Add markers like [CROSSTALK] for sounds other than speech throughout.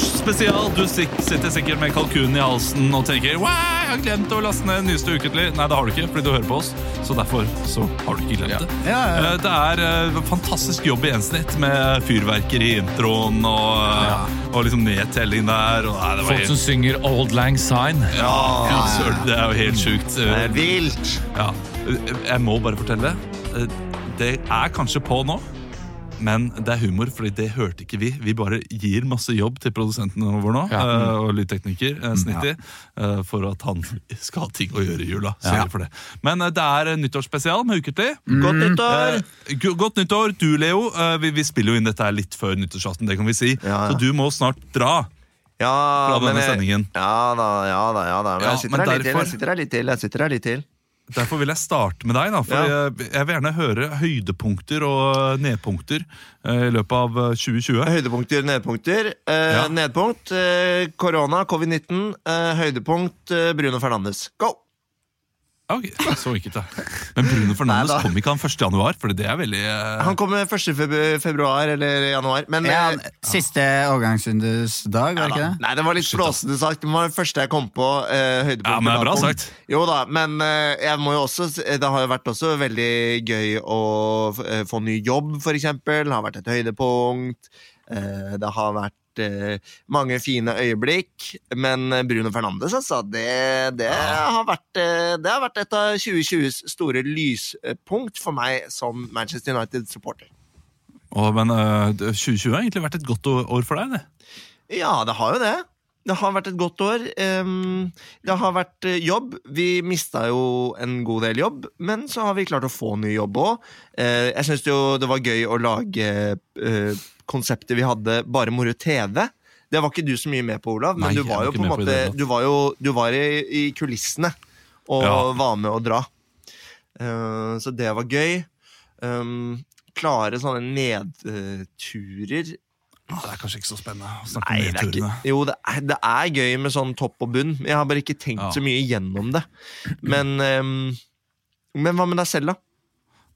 spesial. Du sit- sitter sikkert med kalkunen i halsen og tenker Wow, jeg har glemt å laste ned nyeste ukentlig. Nei, det har du ikke, fordi du hører på oss. Så derfor så har du ikke glemt det. Ja, ja, ja. Eh, Det er eh, fantastisk jobb i Ensnitt med fyrverkeri i introen og, eh, og liksom nedtelling der. Og, nei, det var Folk som helt, synger Old Lang Syne. ja, søren, det er jo helt sjukt. Det Eh, er vilt. Ja. Jeg må bare fortelle. eh, Det er kanskje på nå, men det er humor, fordi det hørte ikke vi. Vi bare gir masse jobb til produsenten vår nå, Ja. eh, og lydtekniker, eh, Snitty, eh, for at han skal ha ting å gjøre i jula. Sorry for det. Men eh, det er en nyttårsspesial med uker til. Godt nyttår! Eh, go- godt nyttår, du Leo. Eh, vi, vi spiller jo inn dette her litt før nyttårsaften, det kan vi si. Ja, ja. Så du må snart dra. Ja, Fra denne men jeg- sendingen. Ja da, ja da. ja da Men Ja, jeg sitter men her litt til. derfor- Jeg sitter her litt til. Jeg sitter her litt til. Derfor vil jeg starte med deg, da. For Ja. jeg, jeg vil gjerne høre høydepunkter og nedpunkter eh, i løpet av eh, 2020. Høydepunkter, nedpunkter. Eh, Ja. Nedpunkt eh, korona, covid-19. Eh, høydepunkt eh, Bruno Fernandes. Go! Ok, så gikk det. Men Bruno Fernandes Neida. kom ikke han 1. januar, for det er veldig eh, Han kommer 1. Februar, februar eller januar. Men Ja, eh, siste overgangsrundes dag, var det ikke Ja da. det? Nei, det var litt flåsete sagt. Det var det første jeg kom på. eh, høydepunkt Ja, men det er bra og lavpunkt. sagt. Jo da, men eh, jeg må jo også, s- det har jo vært også veldig gøy å f- eh, få ny jobb, for eksempel. Det har vært et høydepunkt. Eh, det har vært eh, mange fine øyeblikk. Men eh, Bruno Fernandes, altså, det, det, har vært, eh, det har vært et av 2020s store lyspunkt for meg som Manchester United-supporter. Å, Men eh, 2020 har egentlig vært et godt å- år for deg, det. Ja, det har jo det. Det har vært et godt år. Ehm, Det har vært eh, jobb. Vi mista jo en god del jobb, men så har vi klart å få ny jobb òg. Jeg syns jo det var gøy å lage eh, konseptet vi hadde Bare moro TV. Det var ikke du så mye med på, Olav, men Nei, du var jo jeg var ikke på en med på måte det, da. Du var jo du var i, i kulissene og Ja. var med å dra. Eh, Så det var gøy. Ehm, klare sånne nedturer Det er kanskje ikke så spennende å snakke Nei, om det er ikke, nedturene. jo, det er, det er gøy med sånn topp og bunn. Jeg har bare ikke tenkt Ja. så mye gjennom det. Men, ehm, men hva med deg selv, da?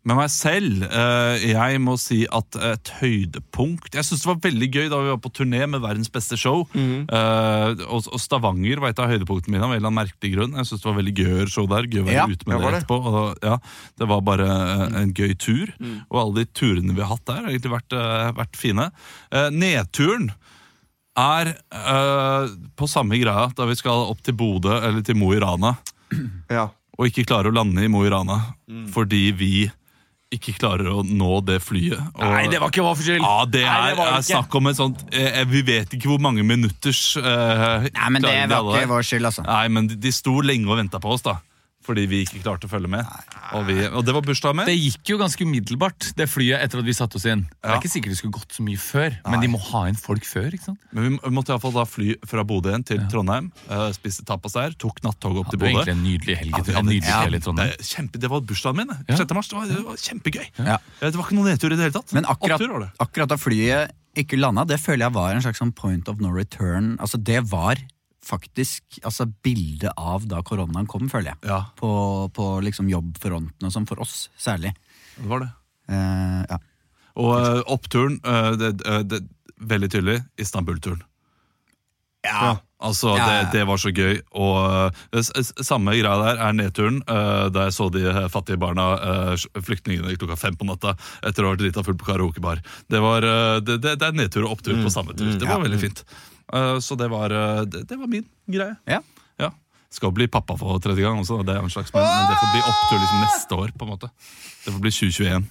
Med meg selv, eh, jeg må si at et høydepunkt Jeg synes det var veldig gøy da vi var på turné med verdens beste show. Mhm. Eh, og, og Stavanger var et av høydepunktene mine. av en eller annen merkelig grunn Jeg synes det var veldig gøy å gjøre show der. Gøy å være Ja, ute det med det var det. etterpå. Og, da- ja, det var bare eh, en gøy tur. Og alle de turene vi har hatt der, har egentlig vært, eh, vært fine. Eh, nedturen er eh, på samme greia da vi skal opp til Bodø eller til Mo i Rana Ja. og ikke klarer å lande i Mo i Rana fordi vi ikke klarer å nå det flyet. Og, Nei, det var ikke vår skyld! ja, det Nei, er, det var er ikke. snakk om et sånt eh, Vi vet ikke hvor mange minutters eh, Nei, men det klaring de var hadde der. ikke vår skyld, altså. Nei, men de, de sto lenge og venta på oss, da. Fordi vi ikke klarte å følge med. Og, vi, og det var bursdagen min. Det gikk jo ganske umiddelbart, det flyet etter at vi satte oss inn. Det er ikke sikkert det skulle gått så mye før, men de må ha inn folk før. ikke sant? Men vi må- måtte iallfall da fly fra Bodø igjen til Trondheim. eh, spiste tapas der, tok nattoget opp Det til var Bodø. egentlig en nydelig helg. Ja, vi Ja, hadde- en nydelig ja, helg i Trondheim. det er kjempe, det var bursdagen min. Ja. 6. mars. Det var, det var kjempegøy. Ja. Eh, Det var ikke noen nedtur i det hele tatt. Men akkurat, Opptur var det. akkurat da flyet ikke landa, det føler jeg var en slags sånn point of no return. Altså, det var faktisk altså, bildet av da koronaen kom, føler jeg. Ja. På, på liksom jobbfronten og sånn, for oss særlig. Det var det. Eh, ja. Og eh, oppturen, eh, det, eh, det, veldig tydelig, Istanbul-turen. Ja. Altså, Ja, ja, ja. Det, det var så gøy. Og eh, s- s- samme greia der er nedturen, eh, da jeg så de eh, fattige barna, eh, s- flyktningene, klokka fem på natta etter å ha vært drita full på karaokebar. Det, var, eh, det, det, det er nedtur og opptur på samme tur. Det var veldig fint. Eh, så det var, eh, det, det var min greie. Ja. Ja. Skal bli pappa for tredje gang også, det er jo en slags, men, men det får bli opptur liksom neste år. på en måte. Det får bli 2021.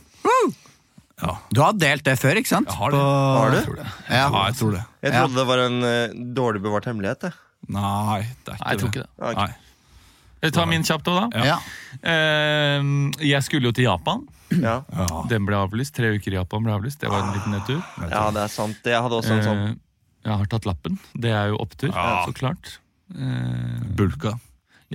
Ja. Du har delt det før, ikke sant? Jeg har det. Har du? Ja. Ja, jeg tror det. Jeg Ja. trodde det var en eh, dårlig bevart hemmelighet. Jeg. Nei, det er ikke Nei, jeg tror ikke det. Ok. Nei. Jeg tar min kjapt òg, da. Ja. Eh, jeg skulle jo til Japan. Ja. Den ble avlyst. Tre uker i Japan ble avlyst. Det var en liten nedtur. ja, det er sant. Jeg hadde også en sånn. Eh, jeg har tatt lappen. Det er jo opptur, Ja. så klart. Eh, Bulka.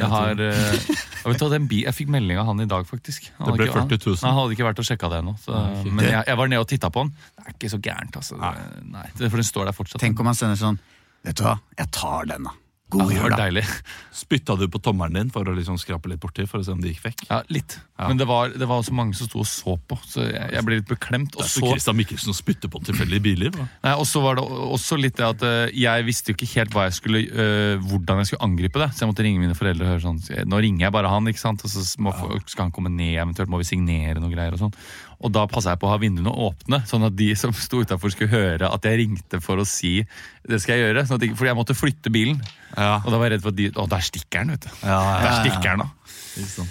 jeg har eh, jeg, vet, hva, den bi jeg fikk melding av han i dag, faktisk. Han Det hadde ble ikke- han- 40 000. Nei, Han hadde ikke vært og sjekka det ennå. så- Men jeg, jeg var nede og titta på han. Det er ikke så gærent, altså. Nei. Det, for den står der fortsatt. Tenk om han sender sånn Vet du hva, jeg tar den, da. God jul, deilig. [LAUGHS] Spytta du på tommelen din for å liksom skrape litt borti for å se om det gikk vekk? Ja, litt. Men det var, det var så mange som sto og så på, så jeg, jeg ble litt beklemt. Og Det er ikke så, Christian Mikkelsen å spytte på tilfeldige biler. hva? nei, og så var det også litt det at eh, jeg visste jo ikke helt hva jeg skulle, eh, hvordan jeg skulle angripe det. Så jeg måtte ringe mine foreldre og høre sånn Nå ringer jeg bare han, ikke sant? Og så må, skal han komme ned, eventuelt må vi signere noe greier og sånn. Og da passa jeg på å ha vinduene åpne, sånn at de [LAUGHS] som sto utafor skulle høre at jeg ringte for å si det skal jeg gjøre. Sånn at, ikke- fordi jeg måtte flytte bilen. Ja. Og da var jeg redd for at de Å, der stikker han, vet du. ja, Der stikker han, da.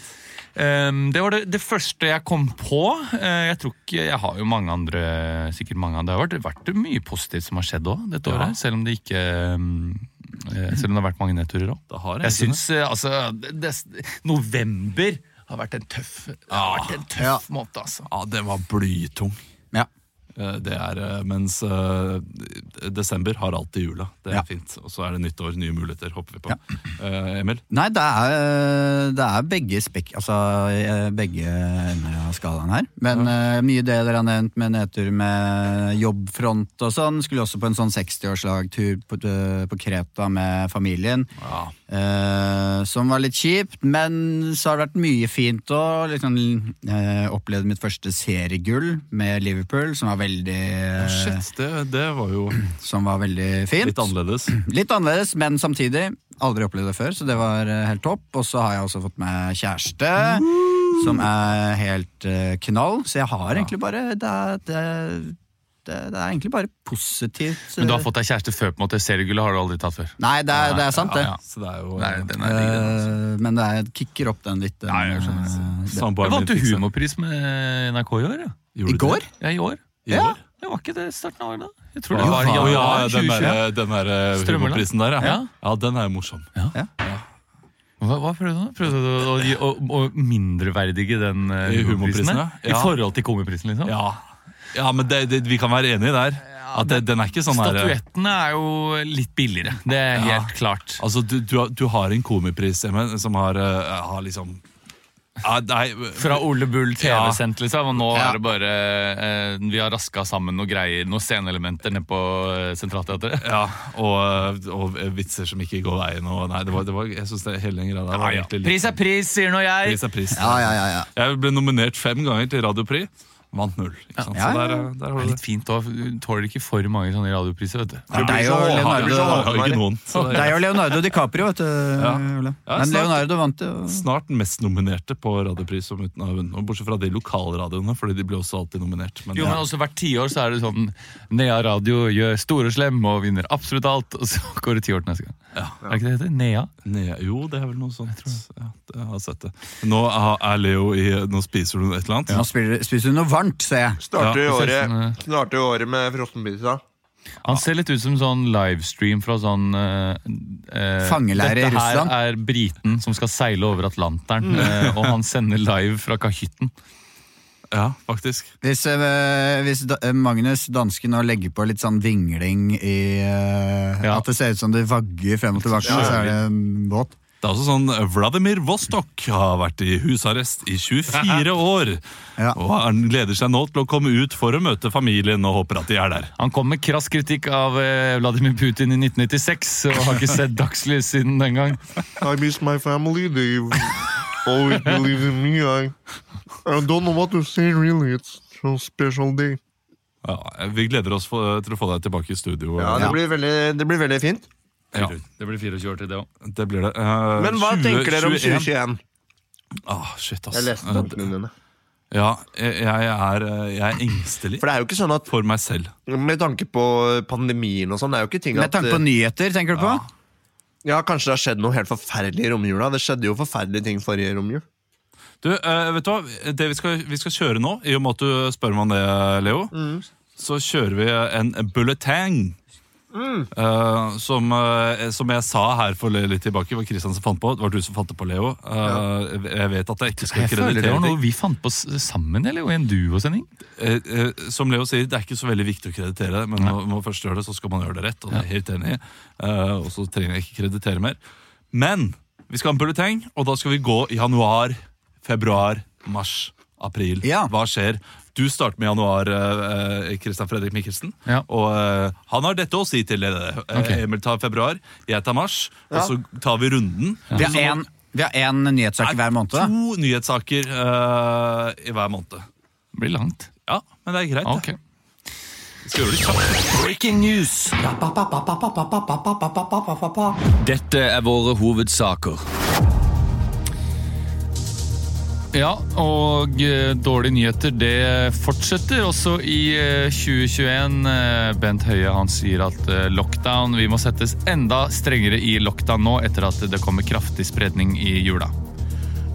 Ehm, det var det, det første jeg kom på. Eh, jeg tror ikke, jeg har jo mange andre sikkert mange andre. Det har vært, vært mye positivt som har skjedd òg dette året. Selv om det ikke ehm, eh, Selv om det har vært mange nedturer òg. Det har Jeg egentlig syns eh, altså det, det, November har vært en tøff, det har vært en tøff måned, altså. Ja, den var blytung. Ja. Eh, Det er, eh, mens eh, desember har alltid jula. Det er Ja. fint. Og så er det nytt år, nye muligheter, håper vi på. Eh, Emil? Nei, det er, det er begge spek... Altså eh, begge ender av skalaen her. Men eh, mye det dere har nevnt med nedtur med jobbfront og sånn. Skulle også på en sånn 60-årslagtur på, eh, på Kreta med familien. Ja. Eh, som var litt kjipt, men så har det vært mye fint òg. Liksom, eh, opplevde mitt første seriegull med Liverpool, som var veldig, Shit, det, det var jo som var veldig fint. litt annerledes. Litt annerledes, men samtidig. Aldri opplevd det før, så det var eh, helt topp. Og så har jeg også fått meg kjæreste, som er helt eh, knall. Så jeg har egentlig bare det er, det, er- det, det er egentlig bare positivt. Men du har eh, fått deg kjæreste før, på en måte. Seriegullet har du aldri tatt før. Nei, det er, det er sant, det. Ja. Så det er jo Nei, den er digg, den. Eh, Men det er, kicker opp den litt. Den, Ja, jeg skjønner. eh, Samboeren min Jeg vant jo fikk seg- humorpris med NRK i år, ja. Gjorde I du går? det? ja i år. I år? Det var ikke det starten av året, da? Jeg tror Ja, det var i ja, ja, januar den 2021. der, den der eh, Strømmer, da. humorprisen der, ja. Ja. ja. Den er jo morsom. Hva, hva prøvde du? Prøvde du å, gi- å, å mindreverdige den I eh, humorprisen, humorprisen? der? ja. I forhold til komiprisen, liksom? Ja, ja men det, det, vi kan være enige der. At det, den er ikke sånn her eh, Statuettene er jo litt billigere, det er Ja. helt klart. Altså, du, du, har- du har en komipris Emil, som har, eh, har liksom ja, Nei, Fra Ole Bull Ja. TV-sendt, liksom. Og nå er det bare eh, Vi har raska sammen noen greier, noen sceneelementer nede på eh, Centralteatret. ja, og, og vitser som ikke går veien. Og, nei, det var, det var, jeg synes det hele den greia der var egentlig litt Pris er pris, sier nå jeg. Pris er pris. Ja, ja, ja, ja. Jeg ble nominert fem ganger til Radio Prix. Vant null. Ikke sant? Ja, Så ja, der, eh, der Det har er du litt fint òg. Du tåler ikke for mange sånne radiopriser, vet du. Det er jo Jeg Leonardo, har ikke noen. Så [LAUGHS] det det er jo Leonardo DiCaprio, vet du. Ja. Ole. Ja, Men snart. Leonardo vant jo. er snart mest nominerte på Radiopris som uten å ha vunnet. noe, Bortsett fra de lokalradioene, fordi de ble også alltid nominert. Men, Jo, men også Hvert tiår så er det sånn Nea Radio gjør store slem og vinner absolutt alt. Og så [LAUGHS] går det ti år til neste gang. Er det ikke det det heter? Nea? Nei, jo, det er vel noe sånt. Ja, det- jeg har sett det. Nå er er Leo i Nå spiser hun et eller annet. Nå spiller- spiser hun noe varmt, ser jeg. Starter Ja, jo det ser året, sånn, starter jo året med frossenpizza. Han ser litt ut som sånn livestream fra sånn eh, eh, Fangeleire i Dette her Russland. er briten som skal seile over Atlanteren, eh, og han sender live fra kahytten. Ja, faktisk. Hvis, eh, hvis da, eh, Magnus, dansken, nå legger på litt sånn vingling i eh, Ja. At det ser ut som det vagger frem og tilbake, så er det en båt. Det er også sånn Vladimir Vostok har vært i husarrest i [LAUGHS] 24 år. Ja. Og han gleder seg nå til å komme ut for å møte familien og håper at de er der. Han kom med krass kritikk av eh, Vladimir Putin i 1996, og har ikke sett dagslys siden den gang. I miss my family. They always believe in me. I, I don't know what to say, really. It's a special day. Ja, vi gleder oss for, til å få deg tilbake i studio. Ja, det blir veldig, det blir veldig fint. Ja, Det blir 24 år til det òg. det blir det. Eh, Men hva 20, tenker dere om 2021? 21? Ah, shit, ass. Jeg leste Eh, tankene dine. Ja, jeg, jeg, er, eh, jeg er engstelig For det er jo ikke sånn at for meg selv. med tanke på pandemien og sånn, det er jo ikke ting Med at tanke på eh, nyheter, tenker du på? Ja, kanskje det har skjedd noe helt forferdelig i romjula. Det skjedde jo forferdelige ting forrige romjul. Du, eh, vet du hva? Det vi skal, vi skal kjøre nå, i og med at du spør meg om det, Leo, Mm. så kjører vi en bulletang. Mm. Eh, som, eh, som jeg sa her for litt tilbake, var Kristian som fant på. Det var du som fant det på, Leo. Eh, Jeg vet at jeg ikke skal Jeg føler det kreditere var ting. noe vi fant på s- sammen, eller? Og i en duosending. Eh, eh, som Leo sier, det er ikke så veldig viktig å kreditere, men når man først gjør det, så skal man gjøre det rett. Og det er jeg helt enig i. Eh, og så trenger jeg ikke kreditere mer. Men vi skal ha en bulleteng, og da skal vi gå i januar, februar, mars, april. Ja. Hva skjer? Du starter med januar, eh, eh, Christian Fredrik Mikkelsen. Ja. Og eh, han har dette å si til dere. Eh, Ok. Emil tar februar, jeg tar mars. Og så tar vi runden. Vi har en- vi har én nyhetssak hver måned. da. To nyhetssaker eh, i hver måned. Det blir langt. Ja, Ah, men det er greit. Ok. Det. Skal gjøre det kjapt. Breaking news! Dette er våre hovedsaker. Ja, og eh, dårlige nyheter, det fortsetter også i eh, 2021. Eh, Bent Høie han sier at eh, lockdown, vi må settes enda strengere i lockdown nå etter at det kommer kraftig spredning i jula.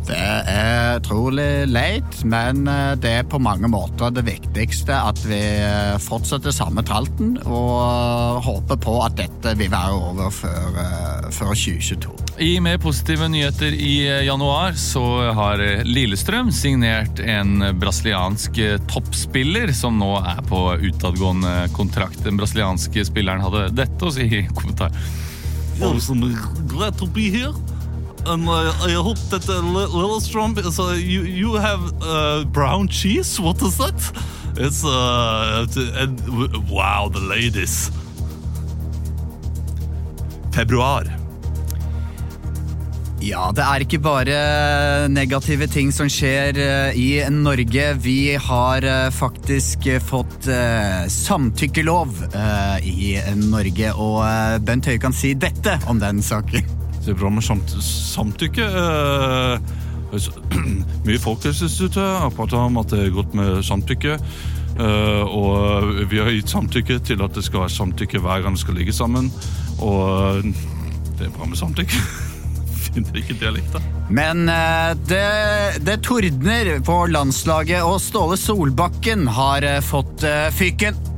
Det er utrolig leit, men eh, det er på mange måter det viktigste at vi eh, fortsetter samme tralten og håper på at dette vil være over før, eh, før 2022. I med positive nyheter i eh, januar så har eh, Lillestrøm signert en brasiliansk eh, toppspiller som nå er på utadgående kontrakt. Den brasilianske spilleren hadde dette å si i kommentar. Oh, so glad to be here. And I, I hope that uh, Li- Lillestrøm is uh, you, you have uh, brown cheese. What is that? It's uh, t- and, w- wow, the ladies. Februar. Ja, det er ikke bare negative ting som skjer eh, i Norge. Vi har eh, faktisk eh, fått eh, samtykkelov eh, i Norge, og eh, Bent Høie kan si dette om den saken. Det er bra med samt samtykke. eh, altså, [CLEARS THROAT] Mye folk i det siste har pratet om at det er godt med samtykke. eh, og vi har gitt samtykke til at det skal være samtykke hver gang det skal ligge sammen. Og eh, det er bra med samtykke. [LAUGHS] Finner ikke dialekta. Men eh, det, det tordner på landslaget, og Ståle Solbakken har eh, fått eh, fyken.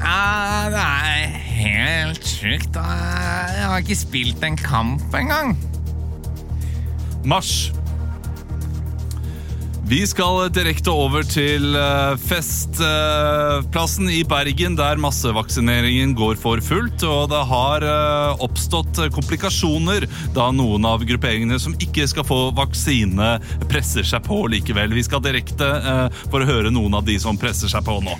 Ja, det er helt sjukt. Jeg har ikke spilt en kamp engang. Mars. Vi skal direkte over til eh, festplassen eh, i Bergen, der massevaksineringen går for fullt. Og det har eh, oppstått komplikasjoner da noen av grupperingene som ikke skal få vaksine, presser seg på likevel. Vi skal direkte eh, for å høre noen av de som presser seg på nå.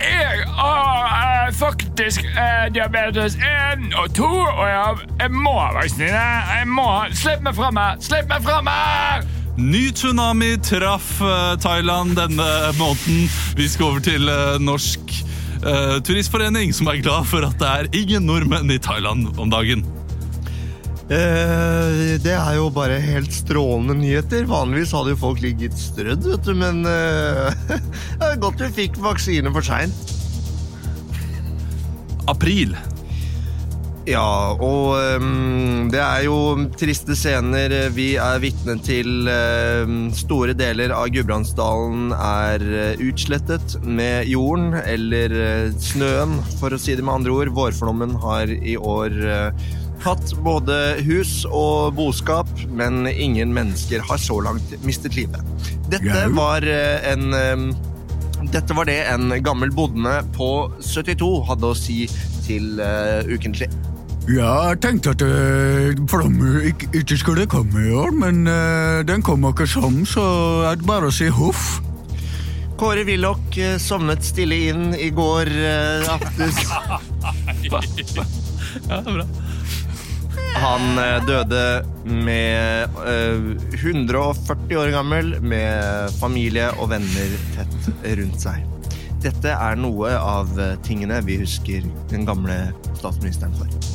Jeg har eh, faktisk eh, diabetes 1 og 2, og jeg, jeg må vaksinere. Jeg må Slipp meg fram her! Slipp meg fram her! Ny tsunami traff eh, Thailand denne måneden. Vi skal over til eh, Norsk eh, Turistforening, som er glad for at det er ingen nordmenn i Thailand om dagen. Eh, det er jo bare helt strålende nyheter. Vanligvis hadde jo folk ligget strødd, vet du, men eh, [LAUGHS] det er godt du fikk vaksine for seint. April. Ja, og ehm, det er jo triste scener vi er vitne til. ehm, store deler av Gudbrandsdalen er eh, utslettet med jorden, eller eh, snøen, for å si det med andre ord. Vårflommen har i år eh, tatt både hus og boskap, men ingen mennesker har så langt mistet livet. Dette Jau. var eh, en ehm, dette var det en gammel bonde på 72 hadde å si til eh, ukentlig. Jeg tenkte at eh, flommen ikke, skulle komme i år, men eh, den kommer ikke sånn, så er det bare å si hoff. Kåre Willoch eh, sovnet stille inn i går eh, aftes. Han eh, døde med eh, 140 år gammel, med familie og venner tett rundt seg. Dette er noe av eh, tingene vi husker den gamle statsministeren for.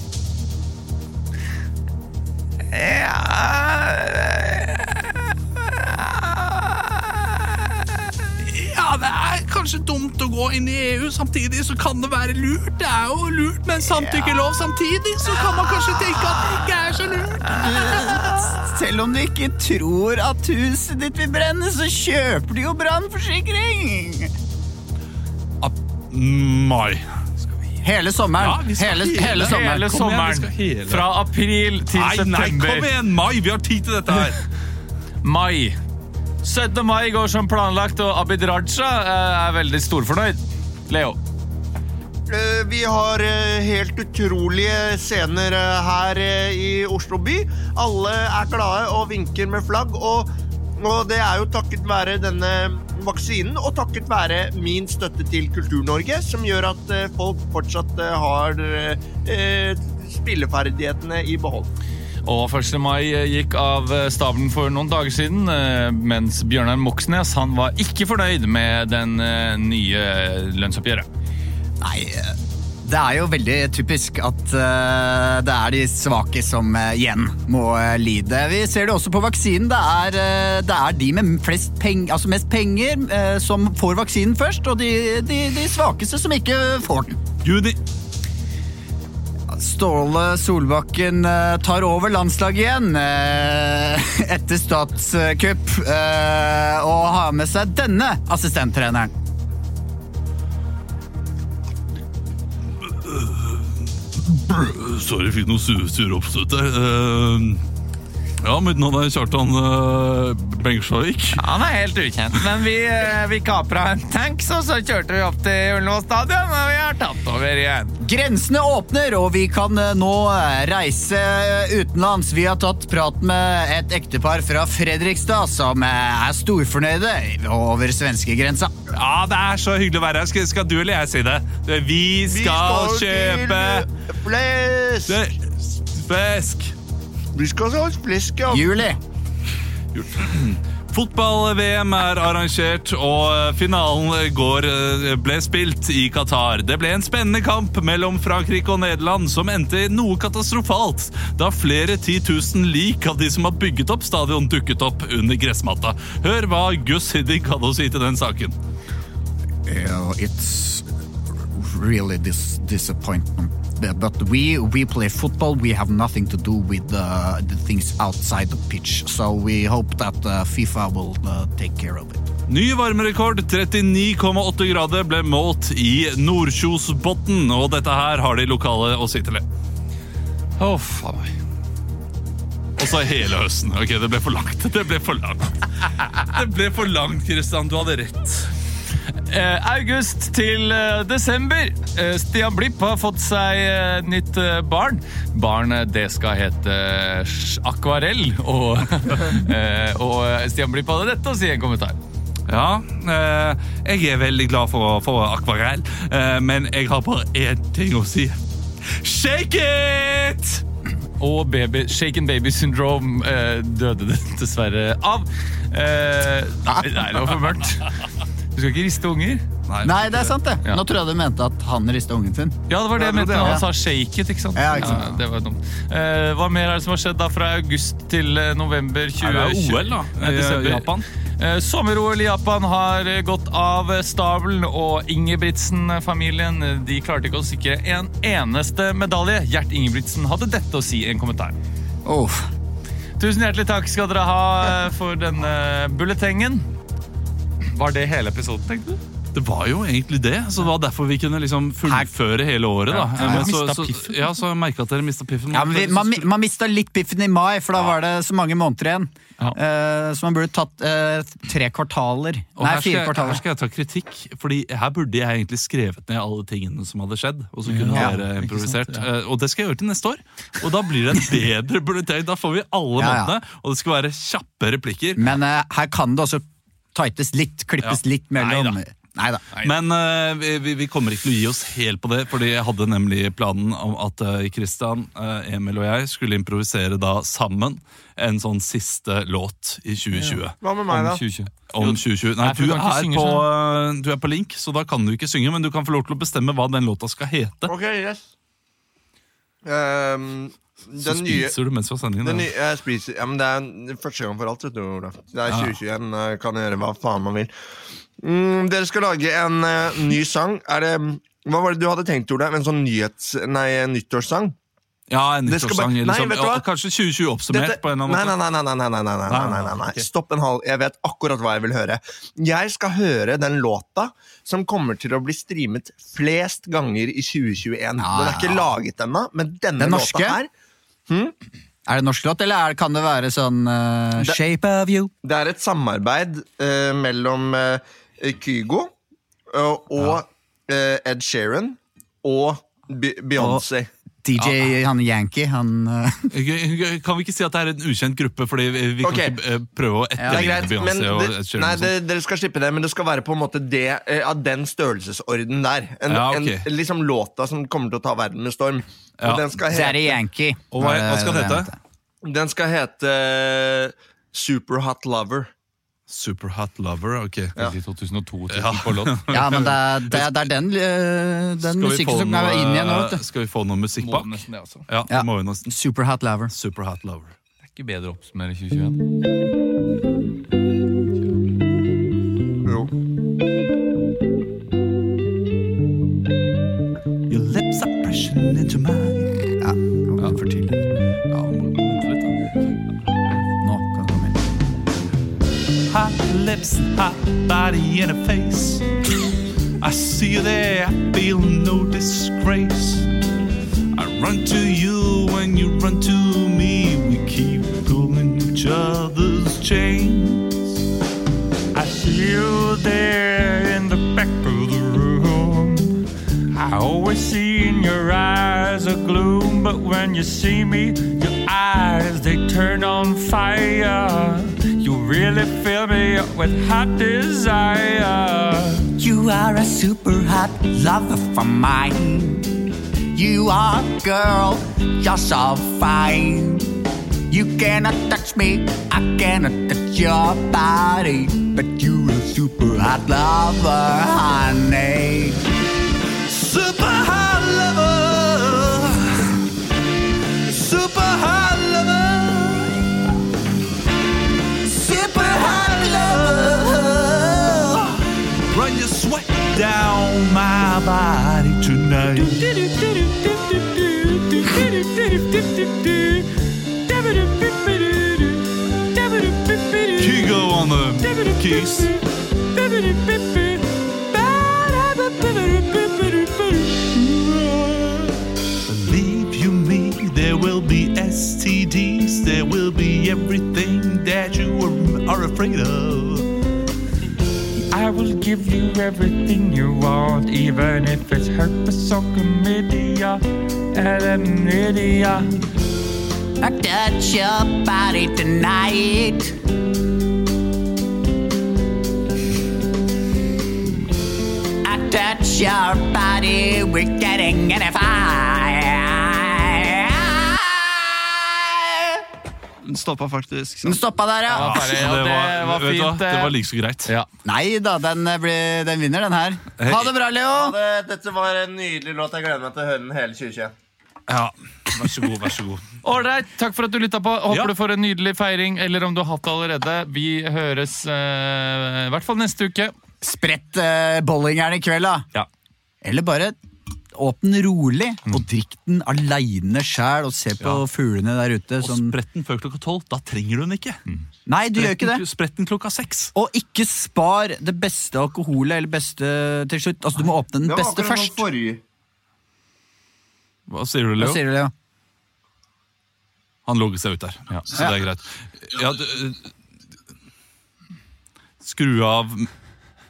Ja, det er kanskje dumt å gå inn i EU. Samtidig så kan det være lurt. Det er jo lurt med en samtykkelov samtidig, så kan man kanskje tenke at det ikke er så lurt. Selv om du ikke tror at huset ditt vil brenne, så kjøper du jo brannforsikring. Mai. Hele sommeren. Ja, vi skal hele, hele- hele sommeren. Hele Kom igjen, vi sommeren. skal hele. Fra april til Nei, nei, september. kom igjen, Mai! Vi har tid til dette her. Mai. 17. mai går som planlagt, og Abid Raja eh, er veldig storfornøyd. Leo. Eh, Vi har eh, helt utrolige scener eh, her eh, i Oslo by. Alle er glade og vinker med flagg. Og Og det er jo takket være denne vaksinen og takket være min støtte til Kultur-Norge, som gjør at eh, folk fortsatt eh, har eh, spilleferdighetene i behold. Og 1. mai eh, gikk av stabelen for noen dager siden, eh, mens Bjørnar Moxnes han var ikke fornøyd med den eh, nye lønnsoppgjøret. Nei, det er jo veldig typisk at eh, det er de svake som eh, igjen må eh, lide. Vi ser det også på vaksinen. Det er, eh, det er de med flest peng, altså mest penger eh, som får vaksinen først, og de, de, de svakeste som ikke får den. Juni! Ståle Solbakken eh, tar over landslaget igjen eh, [LAUGHS] etter statskupp eh, og har med seg denne assistenttreneren. Sorry, jeg fikk noen sure, sure oppstøt der. Eh, ja, mitt navn er Kjartan uh, Bengsjavik. Han er helt ukjent, men vi, eh, vi kapra en tanks, og så kjørte vi opp til Ullevål stadion, og vi har tatt over igjen. Grensene åpner, og vi kan eh, nå eh, reise utenlands. Vi har tatt prat med et ektepar fra Fredrikstad som eh, er storfornøyde over svenskegrensa. Ja, det er så hyggelig å være her. Skal, skal du eller jeg si det? Vi skal, kjøpe til flesk! det, fisk! Vi skal ha flesk, ja. Juli. Fotball-VM er arrangert, og eh, finalen går, eh, ble spilt i Qatar. Det ble en spennende kamp mellom Frankrike og Nederland, som endte i noe katastrofalt, da flere 10 000 lik av de som har bygget opp stadion, dukket opp under gressmatta. Hør hva Gus Hiddig hadde å si til den saken. Yeah, Uh, it's really dis disappointment. But- But we we play football. We have nothing to do with uh, the things outside the pitch. So we hope that uh, FIFA will uh, take care of it. Ny varmerekord, 39,8 grader, ble målt i Nordkjosbotn, og dette her har de lokale å si til det. Å, faen meg. Og så hele høsten. Ok, det ble for langt. Det ble for langt. [LAUGHS] Det ble for langt, Kristian. Du hadde rett. Eh, august til eh, desember. Eh, Stian Blipp har fått seg eh, nytt eh, barn. Barnet det skal hete eh, sj- akvarell. Og, [LAUGHS] eh, og eh, Stian Blipp hadde dette å si i en kommentar. Ja, eh, jeg er veldig glad for å få akvarell, eh, men jeg har bare én ting å si. Shake it! Og baby, shaken baby syndrome eh, døde det [LAUGHS] dessverre av. Eh, nei, nei, det var for mørkt. Du skal ikke riste unger. Nei, det er sant, det. Ja. Nå tror jeg du mente at han rista ungen sin. Ja, det var det jeg mente. det, ja. Han sa shake it, ikke sant? Ja, ikke sant. det var dumt. Eh, hva mer er det som har skjedd da fra august til eh, november 2020? Nei, det er OL da, Nei, i desember. Japan. Eh, Sommer-OL i Japan har eh, gått av eh, stabelen, og Ingebrigtsen-familien eh, de klarte ikke å sikre en eneste medalje. Gjert Ingebrigtsen hadde dette å si i en kommentar. Uff. Tusen hjertelig takk skal dere ha eh, for denne bulletengen. Var det hele episoden, tenkte du? Det var jo egentlig det. så Det var derfor vi kunne liksom fullføre hele året. da. Eh, Ja, Men jeg så, mistet så, piffen. ja, så jeg merket at dere mista piffen. Ja, men vi, man, mi- man mista litt biffen i mai, for da var det så mange måneder igjen. Ja. Eh, så man burde tatt eh, tre kvartaler. Og Nei, her, skal jeg, fire her kvartaler. skal jeg ta kritikk, Fordi her burde jeg egentlig skrevet ned alle tingene som hadde skjedd. Og så kunne Ja, dere ikke sant, improvisert Eh, Og det skal jeg gjøre til neste år. Og da blir det [LAUGHS] en bedre bulleteng. Da får vi alle Ja, ja. månedene, og det skal være kjappe replikker. Men eh, her kan det også tightes litt, klippes Ja. litt mellom. Neida. Nei da. Men eh, vi, vi, vi kommer ikke til å gi oss helt på det, Fordi jeg hadde nemlig planen om at eh, Christian, eh, Emil og jeg skulle improvisere da sammen en sånn siste låt i 2020. Hva med meg, da? 2020. Om 2020. Nei, Nei, for du du kan ikke er, synge på, eh, du er på link, så da kan du ikke synge, men du kan få lov til å bestemme hva den låta skal hete. Ok, yes. Ehm, Så den nye spiser du mens vi har sendingen. Den da. nye, jeg spiser, ja, men det er første gang for alt, vet du, Olaf. Det er 2021, jeg kan gjøre hva faen man vil. Mm, dere skal lage en eh, ny sang. Er det, hva var det du hadde tenkt, Olav? En sånn nyhets... Nei, en nyttårssang? Ja, en Det skal nyttårssang. bare- eller Nei, sånn. vet du hva? Ja, Kanskje 2020 oppsummert Dette- på en eller nei, annen nei, måte. Ah, nei, nei, nei, nei, nei, nei, nei, nei, nei, nei. Stopp en halv. Jeg vet akkurat hva jeg vil høre. Jeg skal høre den låta som kommer til å bli streamet flest ganger i 2021. Den er ikke laget ennå, men denne Den norske? låta her Er det norsk låt, eller er, kan det være sånn eh, Det- Shape of you? Det er et samarbeid eh, mellom eh, Kygo eh, og eh, Ed Sheeran og Be- Beyoncé. DJ, han Yankee, han eh, Kan vi ikke si at det er en ukjent gruppe, fordi vi vi kan Ok. ikke eh, prøve å Det er etterligne greit, men Beyoncé? og det, Ed Sheeran nei, og sånn. det, sånt. dere skal slippe det, men det skal være på en måte det, eh, av den størrelsesorden der. En, Ja, ok. en, liksom låta som kommer til å ta verden med storm. Og Ja. den skal hete, Daddy Yankee. Og hva- hva skal Var den hete? het. den skal hete Superhot Lover. Superhot Lover, ok. Ja. I 2002 på låt. Ja, men det er, det er, det er den, eh, den Skal vi musikken få eh, som er noe- inn igjen nå, vet du. Skal vi få noe musikk Må bak? nesten det, altså. Ja, Ja. det må vi nesten. Superhot Lover. Superhot Lover. Det er ikke bedre å oppsummere 2021. Jo. Ja, ja. for tidlig. Ja, må vente litt, da. Nå kan det komme inn. Hot lips, hot body and a face. I see you there, I feel no disgrace. I run to you when you run to me. We keep pulling each other's chains. I see you there in the back of the room. I always see in your eyes a gloom, but when you see me, your eyes they turn on fire. You really fill me up with hot desire. You are a super hot lover for mine. You are a girl, you're so fine. You cannot touch me, I cannot touch your body. But you're a super hot lover, honey. Super hot lover. Super hot lover. Super hot lover. Run your sweat down my body tonight. Kiss. Kigo on the keys. Believe you me, there will be STDs. There will be everything that you are- are afraid of. I will give you everything you want, even if it's herpes or chlamydia, chlamydia. I touch your body tonight. I touch your body, we're getting in a fire. Den stoppa faktisk. Den sant? stoppa der, ja. Ja, ferdig. Ja, det var vet du hva, fint, Det eh. var like så greit. Ja. Nei da, den, eh, blir- den vinner, den her. Ha det bra, Ja, Leo. det- Dette var en nydelig låt. Jeg gleder meg til å høre den hele 2021. Ja, Vær så god, vær så god. Ålreit, takk for at du lytta på. Håper Ja. du får en nydelig feiring, eller om du har hatt det allerede. Vi høres eh, i hvert fall neste uke. Sprett eh, bollingeren i kveld, da. Ja. Eller bare åpne den rolig, og drikk den aleine sjæl, og se på Ja. fuglene der ute. Og Som... spretten før klokka tolv, da trenger du den ikke. Nei, Sånn- du gjør ikke det. Spretten klokka seks. Og ikke spar det beste alkoholet eller beste til slutt. Altså, du må åpne den Det var beste akkurat som først. forrige. Hva sier du, Hva Leo? sier du, Leo? Han logger seg ut der, så det er greit. Ja, du, eh, skru av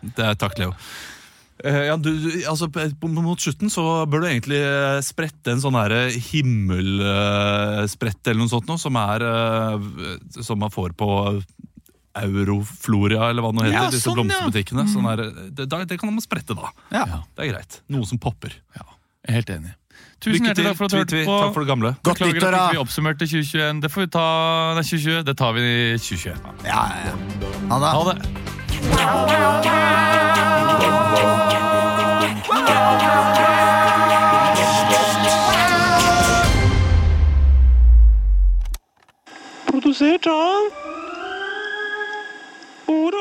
Det er takk, Leo. Eh, ja, du, du- altså, på- på- mot slutten så bør du egentlig eh, sprette en sånn her himmelsprett eller noe sånt noe, som er eh, Som man får på eh, Eurofloria, eller hva det nå heter, Ja, disse sånn, ja. blomsterbutikkene. Sånn her, det, da- det kan man sprette, da. Ja. Det er greit. Noe som popper. Jeg er helt enig. Tusen Lykke hjertelig til. takk for at du Tvi-tvi. hørte på. Takk for det gamle. Godt Beklager nyttår, at da. ikke vi oppsummerte 2021. Det får vi ta Nei, 2020. Det tar vi i 2021. Ja, ja. Ha det. Ha det. produziert av Ord